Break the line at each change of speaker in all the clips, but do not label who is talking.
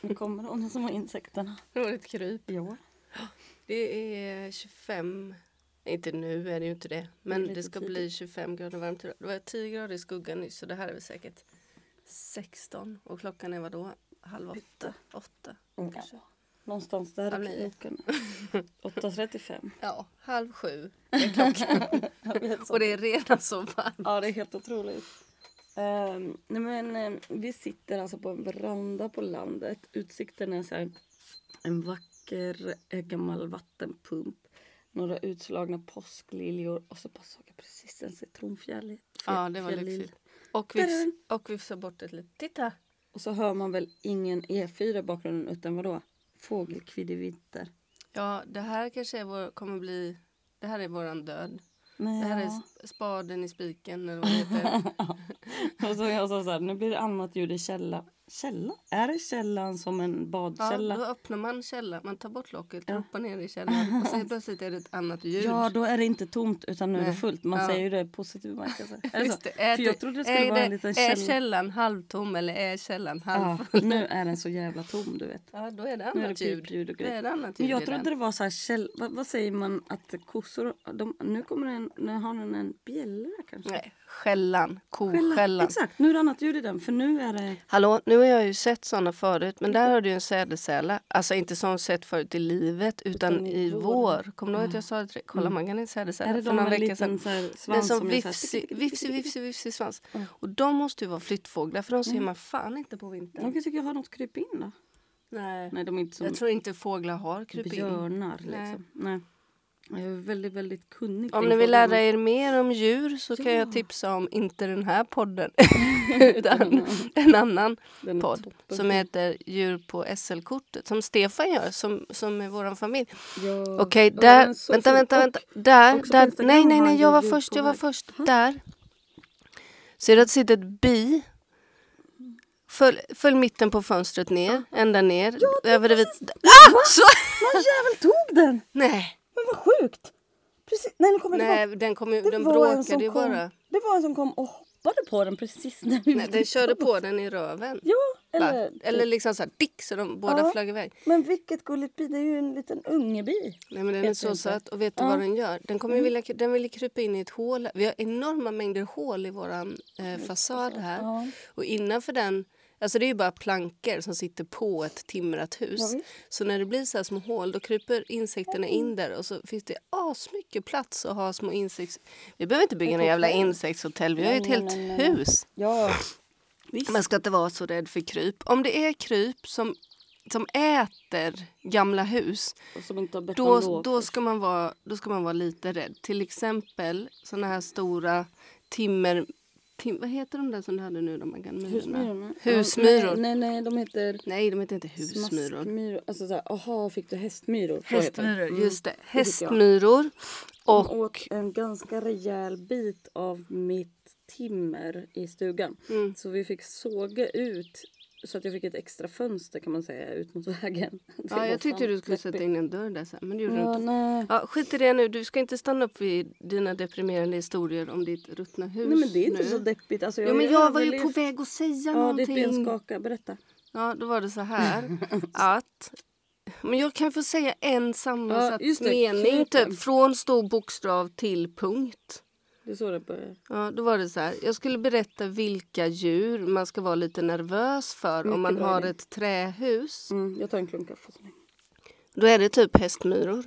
Nu kommer de små insekterna.
Det var ett kryp.
Jo.
Det är 25, inte nu är det ju inte det, men
lite
det ska
tidigt.
bli 25 grader varmt idag. Det var 10 grader i skuggan nyss så det här är väl säkert 16 och klockan är vad då? Halv åtta? Åtta?
Ja.
kanske.
Någonstans där
Halv
i
nio.
klockan. 8.35.
Ja, halv sju är klockan
Jag vet så.
och det är redan så varmt.
Ja, det är helt otroligt. Ehm, nej men, ehm, vi sitter alltså på en veranda på landet. Utsikten är så här, en vacker eh, gammal vattenpump, några utslagna påskliljor och så bara såg jag precis en citronfjäril.
Ja, det var
fjäril.
lyxigt. Och vi, och vi såg bort ett litet, titta!
Och så hör man väl ingen E4 i bakgrunden utan vadå? Fågelkviddevitter.
Ja, det här kanske är vår, kommer bli, det här är våran död.
Nej,
Det här är sp- spaden i spiken eller vad det heter.
Och så jag sa så här, nu blir det annat ljud i källa. Källa? Är det källan som en badkälla?
Ja, då öppnar man källan, man tar bort locket,
Ja.
hoppar ner i källaren och sen plötsligt är det ett annat ljud.
Ja, då är det inte tomt utan nu är det
Nej.
fullt. Man
Ja.
säger ju det i positiv bemärkelse. Är det så?
Just det, är
alltså, För jag trodde det skulle
är
vara en liten
Är
källa.
källan halvtom eller är källan halv...
Ja, nu är den så jävla tom, du vet.
Ja, då är det
Nu är det
annat ljud.
pipljud och
Då är
grejer.
det annat
Men
ljud
jag
i
trodde
den.
det var så här, käll... vad, vad säger man att kossor, de, nu kommer en, nu har den en bjällra kanske?
Nej, skällan,
Skällan.
koskällan.
Exakt, nu är det annat ljud i den för nu är det...
Hallå, nu har jag ju sett såna förut, men där har du ju en sädesärla. Alltså inte som sett förut i livet, utan,
Utan i
i
vår. Mm.
vår. Kommer du ihåg att jag sa det? till dig? Kolla, man kan en sädesärla.
Är det
För
de
någon
med en
vecka sedan-
liten så här
Men
svans
som
är så här-
vifsig, vifsig, vifsig, vifsig svans.
Mm.
Och de måste ju vara flyttfåglar för de ser man fan inte på vintern.
De kan tycka jag har något krypin då.
Nej.
Nej, de är inte som
Jag tror inte fåglar har krypin.
björnar
Typ Nej.
liksom. Nej. Jag är väldigt, väldigt kunnig
Om
kring
ni vill
fåglarna.
lära er mer om djur så kan
Ja.
jag tipsa om, inte den här podden, utan en annan
Den är
podd
toppen.
som heter Djur på SL-kortet, som Stefan gör, som, som är vår familj.
Ja.
Okej,
Ja, den är
där.
så
Vänta,
fin.
vänta,
Och
vänta. Där,
också på
där.
Instagram
Nej, nej,
har
nej,
han
jag
ju
var
ljud
först,
på
jag var
väg.
först. Där. Ser du att det sitter ett bi? Följ, följ mitten på fönstret ner, ända ner. över det vita. Ah! Så!
Någon jävel tog den!
Nej,
Men vad sjukt! Precis. Nej, nu kommer
nej, den, kom ju,
det
den
var en som
bråkade ju
kom,
bara.
Det var en som kom och hoppade på den precis när vi
Nej, den körde på den i röven.
Ja,
Eller,
eller...
eller liksom så här dick så de båda
Ja.
flög iväg.
Men vilket gulligt bi, det är ju en liten ungebi.
Nej men den är
Helt
så
inte.
söt och vet du
Ja. Mm.
vad den gör? Den kommer ju vilja, den vill krypa in i ett hål. Vi har enorma mängder hål i våran eh, fasad här.
Ja.
Och innanför den, alltså det är ju bara plankor som sitter på ett timrat hus.
Ja, visst.
Så när det blir så här små hål då kryper insekterna in där och så finns det asmycket plats att ha små insekts... Vi behöver inte bygga
Ett
några jävla
hotell.
insektshotell, vi har ju ett
Nej,
helt
nej, nej, nej.
hus.
ja, visst.
Man ska inte vara så rädd för kryp. Om det är kryp som, som äter gamla hus,
Och som inte har bett om
då,
lov.
då, ska man vara, då ska man vara lite rädd. Till exempel såna här stora timmer... Tim, vad heter de där som du hade nu? De här gamla myrorna?
Husmyrorna.
Husmyror.
Ja, nej, nej, nej, de heter
Nej, de heter inte husmyror.
smaskmyror. Alltså såhär, aha, fick du hästmyror? Så heter det.
Hästmyror, just det.
jag. Mm,
Hästmyror.
Hon
Och,
åt en ganska rejäl bit av mitt timmer i stugan.
mm,
Så vi fick såga ut så att jag fick ett extra fönster kan man säga ut mot vägen. Det var
ja, jag tyckte
fan
du skulle
deppigt.
sätta in en dörr där sen, men det gjorde du
Ja,
inte.
nej.
Ja, skit i det nu. Du ska inte stanna upp vid dina deprimerande historier om ditt ruttna hus.
nej men det är inte
nu.
så deppigt. Alltså,
Jo,
har
men jag var ju på
överlevt.
väg att säga
Ja, ditt ben
någonting.
skakar. Berätta.
Ja, då var det så här att... Men jag kan få säga en sammansatt
Ja, just det.
mening,
Knuten.
typ, från stor bokstav till punkt.
Det är så det börjar.
Ja, då var det så här. Jag skulle berätta vilka djur man ska vara lite nervös för
Mycket
om man
bra
har
idé.
ett trähus.
Mm, jag tar en klunk kaffe så länge.
Då är det typ hästmyror.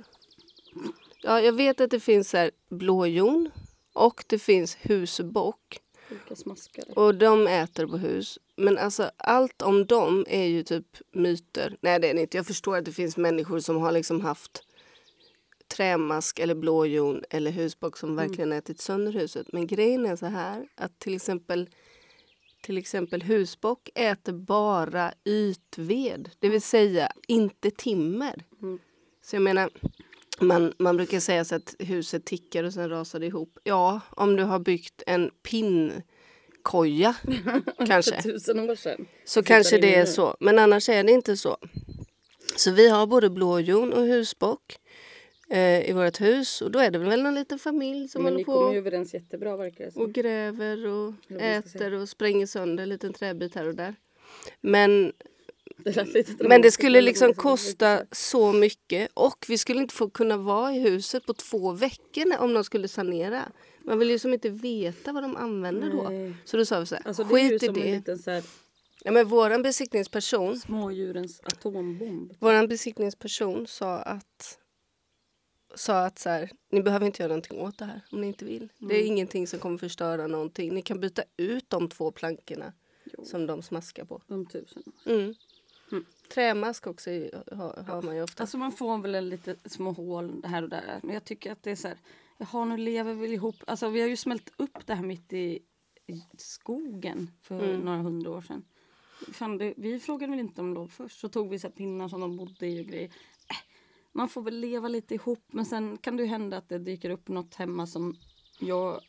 Ja, jag vet att det finns så här blåjon och det finns husbock.
Vilka smaskare.
Och de äter på hus. Men alltså, allt om dem är ju typ myter. Nej, det är det inte. Jag förstår att det finns människor som har liksom haft trämask eller blåjon eller husbock som verkligen ätit sönder huset. Men grejen är så här att till exempel, till exempel husbock äter bara ytved, det vill säga inte timmer.
Mm.
Så jag menar, man, man brukar säga så att huset tickar och sen rasar det ihop. Ja, om du har byggt en pinnkoja kanske,
För tusen år sedan.
så kanske
in Typ. i
det är
det.
så. Men annars är det inte så. Så vi har både blåjon och husbock eh, i vårt hus. Och då är det väl en liten familj som
men
håller
ni
på
kommer ju överens jättebra verkar det som.
och gräver och
Eller vad man ska
äter och spränger sönder en liten träbit här och där. Men,
Det lät lite dramatiskt,
Men det skulle
men var
liksom
så jag
kosta
försökte
så mycket och vi skulle inte få kunna vara i huset på två veckor när- om de skulle sanera. Man vill ju som inte veta vad de använder då.
Nej.
Så då sa vi så här,
säga. Alltså det är ju
skit i
som en
det.
liten så här,
Ja, men våran besiktningsperson,
smådjurens atombomb.
våran besiktningsperson sa att sa att så här, ni behöver inte göra någonting åt det här om ni inte vill. Det är
Mm.
ingenting som kommer förstöra någonting. Ni kan byta ut de två plankorna
Jo,
som de smaskar på.
om tusen.
Mm.
Mm.
Trämask också är- har, har man ju ofta.
Alltså man får väl en lite små hål här och där. Men jag tycker att det är så här. Jaha, nu lever vi ihop. Alltså vi har ju smält upp det här mitt i i skogen för
Mm.
några hundra år sedan. Fan, det, vi frågade väl inte om lov först. Så tog vi så här pinnar som de bodde i och grejer. Äh, man får väl leva lite ihop. Men sen kan det ju hända att det dyker upp något hemma som jag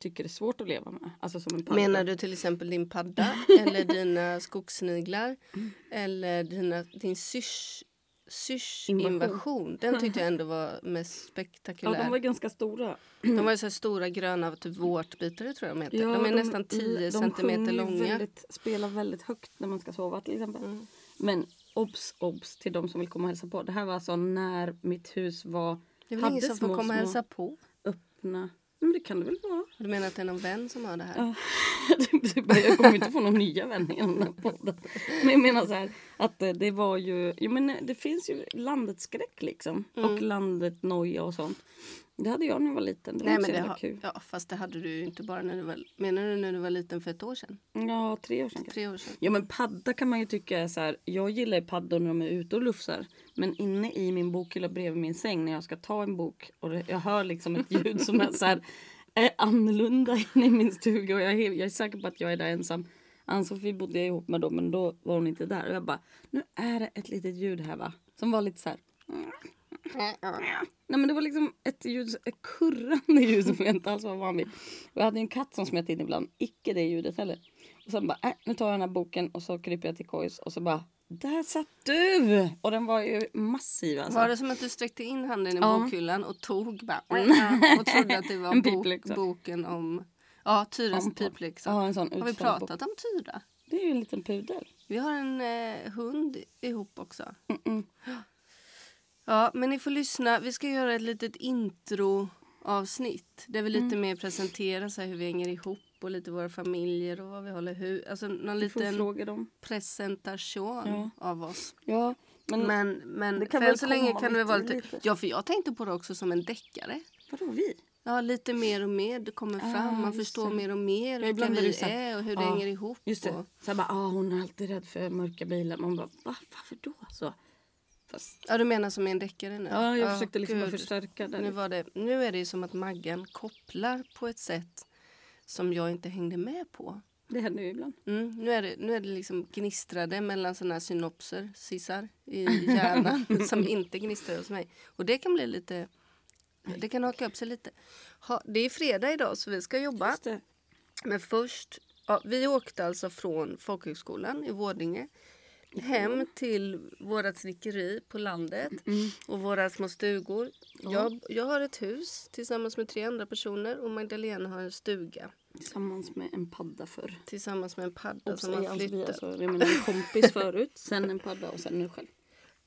tycker är svårt att leva med. Alltså som en padda.
Menar du till exempel din padda eller dina skogssniglar
Mm.
eller dina, din syrs, syrs
Invasion.
invasion. Den tyckte jag ändå var mest spektakulär.
Ja, de var ganska stora.
de var ju så här stora gröna typ vårtbitare tror jag de heter.
Ja,
de är nästan 10
de
centimeter
sjunger ju
långa.
Väldigt, spelar väldigt högt när man ska sova till exempel.
Mm.
Men obs, obs till de som vill komma och hälsa på. Det här var alltså när mitt hus var...
Det är väl
hade
ingen som får
små,
komma och
små
hälsa på?
öppna... Men det kan det väl vara?
Du menar att det är någon vän som har det här?
Ja. Det är bara, jag kommer inte få några nya vänner genom den här podden. Men jag menar så här att eh, det var ju... Jo men eh, det finns ju landets skräck liksom.
Mm.
Och landet noja och sånt. Det hade jag när jag var liten. Det var
Nej,
inte
men
så
det
jävla
har,
kul.
ja, fast det hade du ju inte bara när du var... Menar du när du var liten för ett år sedan?
Ja, tre år sedan kanske.
Tre år sedan?
Ja men padda kan man ju tycka är så här. Jag gillar ju paddor när de är ute och lufsar. Men inne i min bokhylla bredvid min säng när jag ska ta en bok och det- jag hör liksom ett ljud som är så här är annorlunda inne i min stuga och jag är, he- jag är säker på att jag är där ensam. Ann-Sofie bodde jag ihop med då men då var hon inte där och jag bara nu är det ett litet ljud här va som var lite så här Nej men det var liksom ett ljud, ett kurrande ljud som jag inte alls var van vid. Och jag hade ju en katt som smet in ibland, icke det ljudet heller. Och sen bara, äh, nu tar jag den här boken och så kryper jag till kojs och så bara, där satt du! Och den var ju massiv alltså.
Var det som att du sträckte in handen i
Ja.
bokhyllan och tog bara, mm, och trodde att det var
En
bok,
piplexa.
boken om ja, Tyras
Om-
piplexa?
Ja, en sån
Har vi
utspänd bok.
pratat om Tyra?
Det är ju en liten pudel.
Vi har en eh, hund ihop också.
Mm-mm.
Ja, men ni får lyssna. Vi ska göra ett litet introavsnitt där vi
Mm.
lite mer presenterar så här, hur vi hänger ihop och lite våra familjer och vad vi håller hur. Alltså någon
Du får
liten
fråga dem.
presentation
Ja.
av oss.
Ja, men,
Men, men
det kan
för än
väl
så länge
komma
kan det väl vara
lite-
lite...
lite.
Ja, för jag tänkte på det också som en deckare.
vadå vi?
Ja, lite mer och mer det kommer
Ah,
fram. Man
just
förstår
det.
mer och mer
Ja,
vilka
ibland är det
vi
så här-
är och hur det
ja,
hänger ihop.
Just det,
Och,
så här bara, ah, hon är alltid rädd för mörka bilar. Man bara, Va, varför då? Så. Fast,
ja, du menar som i en deckare nu?
ja, jag försökte liksom bara
gud.
förstärka det.
Nu, var det, nu är det ju som att Maggan kopplar på ett sätt som jag inte hängde med på.
Det händer ju ibland.
Mm, nu, är det, nu är det liksom gnistrade mellan såna här synopser, sisar, i hjärnan som inte gnistrar hos mig. Och det kan bli lite... Det kan haka upp sig lite. Ha, det är fredag idag så vi ska jobba.
Just det.
Men först, ja, vi åkte alltså från folkhögskolan i Vårdinge hem till vårat snickeri på landet och våra små stugor. Jag, jag har ett hus tillsammans med tre andra personer och Magdalena har en stuga
Tillsammans med en padda förr.
tillsammans med en padda
Obs,
som
ej,
har
alltså, vi,
flyttat.
alltså, jag menar en kompis förut, sen en padda och sen nu själv.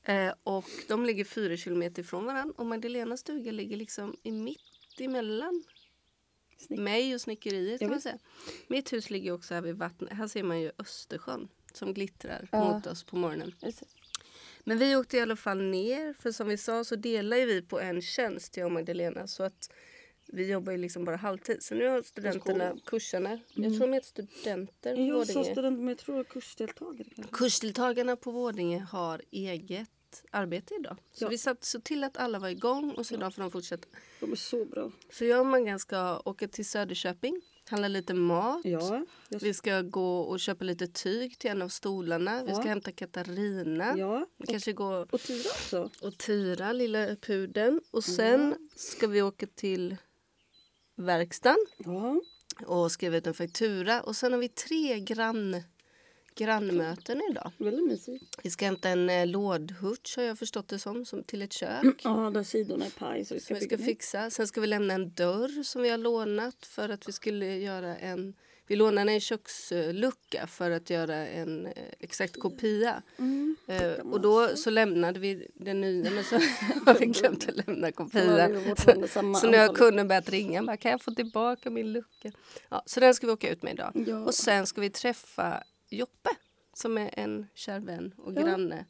Eh, och de ligger fyra kilometer ifrån varandra och Magdalenas stuga ligger liksom i mitt emellan
Snyggt.
mig och snickeriet
Jag
kan man
vet.
säga. Mitt hus ligger också här vid vattnet. Här ser man ju Östersjön som glittrar
Ja.
mot oss på morgonen.
Just det.
Men vi åkte i alla fall ner, för som vi sa så delar ju vi på en tjänst, jag och Magdalena. Så att vi jobbar ju liksom bara halvtid. Så nu har studenterna kurserna. Jag tror de heter studenter på
Jag sa
Vårdinge.
student, men jag tror kursdeltagare kanske.
Kursdeltagarna på Vårdinge har eget arbete idag. Så
Ja.
vi satt, så till att alla var igång och så idag får de fortsätta.
De är så bra.
Så jag och Maggan ska åka till Söderköping, handla lite mat.
Ja, jag,
Vi ska gå och köpa lite tyg till en av stolarna. Vi
Ja.
ska hämta Katarina.
ja.
Vi kanske går
Och Tyra också.
och Tyra, lilla pudeln. Och sen ska vi åka till verkstaden
Ja.
och skriva ut en faktura. Och sen har vi tre grann, grannmöten idag.
Väldigt mysigt.
Vi ska hämta en eh, lådhurts har jag förstått det som, som till ett kök.
Ja, där sidorna är paj så vi ska
Som vi
bygga
ska
nytt.
fixa. Sen ska vi lämna en dörr som vi har lånat för att vi skulle göra en... Vi lånade en kökslucka för att göra en eh, exakt kopia.
Mm,
Eh,
kan
och
man
då
se.
så lämnade vi den nya, men så har vi glömt att lämna
Då har vi
kopian.
fortfarande samma
Så nu har
antal-
kunden börjat ringa. Bara, kan jag få tillbaka min lucka? Ja, så den ska vi åka ut med idag.
Ja.
Och sen ska vi träffa Joppe som är en kär vän och
Ja.
granne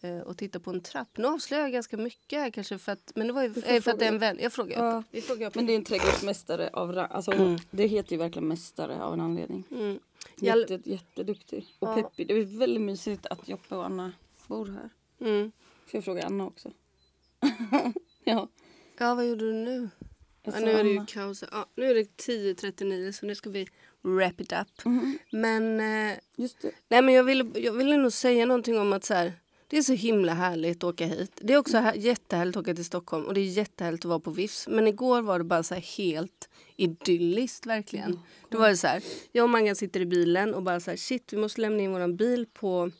eh, och titta på en trapp. Nu avslöjar jag ganska mycket här kanske för att, men det var ju
får
eh, för att det
fråga.
är en vän. Jag frågar Joppe.
Ja.
Vi frågar Joppe.
Men det är en trädgårdsmästare av ra- alltså, Det heter ju verkligen mästare av en anledning.
Mm. Jal-
Jätte, jätteduktig. Och
Ja.
peppig. Det är väldigt mysigt att Joppe och Anna bor här.
Mm.
Får jag fråga Anna också? ja.
Ja, vad gjorde du nu?
jag
Ja,
sa
nu är det ju
Anna.
kaos. Ja, nu är det 10.39 så nu ska vi wrap it up.
Mhm.
Men eh,
Just det.
Nej, men jag ville, jag ville nog säga någonting om att så här, det är så himla härligt att åka hit. Det är också här, jättehärligt att åka till Stockholm och det är jättehärligt att vara på Vifs. Men igår var det bara så här helt idylliskt verkligen.
Mm.
Då var det så här, jag och Maggan sitter i bilen och bara så här, shit vi måste lämna in våran bil på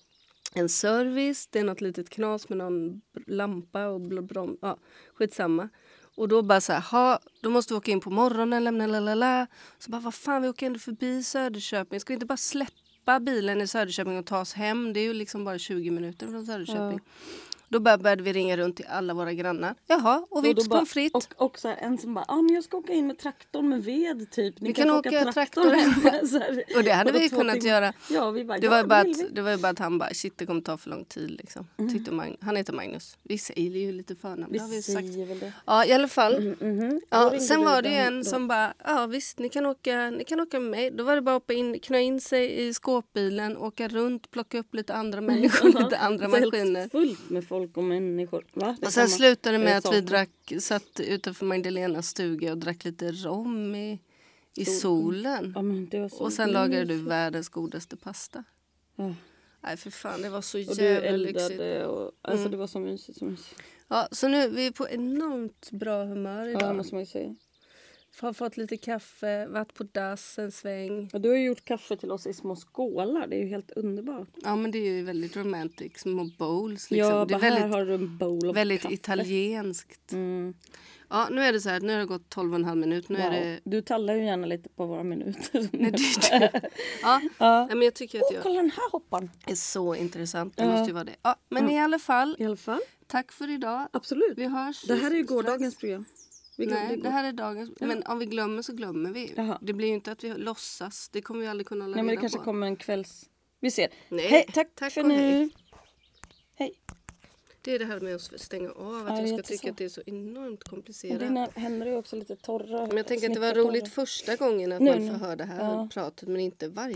en service. Det är något litet knas med någon lampa och bl- brom, ja, skitsamma. Och då bara så här, ha, då måste vi åka in på morgonen, lämna la la la. Så bara, vad fan, vi åker ändå förbi Söderköping. Ska vi inte bara släppa bilen i Söderköping och ta oss hem? Det är ju liksom bara 20 minuter från Söderköping. Då bara började vi ringa runt till alla våra grannar. Jaha, och
Och då
vips
bara-
pommes frites.
Och också en som bara, ah, men jag ska åka in med traktorn med ved typ. Ni
Vi
kan,
kan
åka, traktor
åka traktor
hem. Så här.
Och det hade
Vadå,
vi
två
kunnat
timmar?
göra.
Ja, vi bara,
Det
ja,
var, ju bara
vill
att,
vi. Mm.
det var ju bara att han bara, shit det kommer ta för lång tid liksom. Tyckte Mag- han heter Magnus. Vi säger ju lite förnamn,
Vi
det har vi ju sagt.
säger väl det.
Ja i alla fall.
Mhm. Då
Ja,
ringde
sen
vi
var det ju
den
en
då.
som bara, ja visst ni kan åka, ni kan åka med mig. Då var det bara att hoppa in, knö in sig i skåpbilen, åka runt, plocka upp lite andra människor, lite andra
Mm. Det var helt
maskiner.
fullt med folk och människor. Va? Det
Och sen
samma-
slutade det
det är
med att vi
saker.
drack, satt utanför Magdalenas stuga och drack lite rom i, i solen.
Ja, Mm. men det var så
Och sen lagade du världens godaste pasta.
Ja.
Nej för fan det var så
Och du
jävla lyxigt. Mm.
eldade och alltså det var så mysigt. Så mysigt.
Ja, så nu vi är på enormt bra humör
Ja, det
idag.
måste man ju säga.
Har fått lite kaffe, varit på dass en sväng.
Ja, du har ju gjort kaffe till oss i små skålar. Det är ju helt underbart.
Ja, men det är ju väldigt romantic. Små bowls. Liksom.
Ja,
det är
bara här
väldigt,
har du en bowl av
väldigt
kaffe.
italienskt.
Mm.
Ja, nu är det så här att nu har det gått 12 och en halv minut. Nu är
Wow.
det...
Du tallar ju gärna lite på våra minuter.
Nej, det är du. Ja,
Ja.
nej, men jag tycker att
Åh,
jag
kolla den här hoppan!
är så intressant. Det
Ja.
måste ju vara det. Ja, men i alla fall,
I alla fall.
tack för idag.
Absolut.
Vi hörs.
Det här är ju
strax.
gårdagens program. Vi glömde
Nej,
igår.
det här är dagens. Men om vi glömmer så glömmer vi.
Jaha.
Det blir ju inte att vi låtsas. Det kommer vi aldrig kunna hålla
Nej, men det
reda
kanske
på.
kommer en kvälls... Vi ser.
Nej,
hej, tack,
tack
för
och
nu.
hej.
Hej.
Det är det här med att stänga av.
Ja,
Att
jag
jag ska
vet, det är
tycka
så.
att det är så enormt komplicerat.
Och dina händer är ju också lite torra.
Men jag tänker att det var
Snittetorra.
roligt första gången att
Nu,
man
nu.
får höra det här
Ja.
pratet men inte varje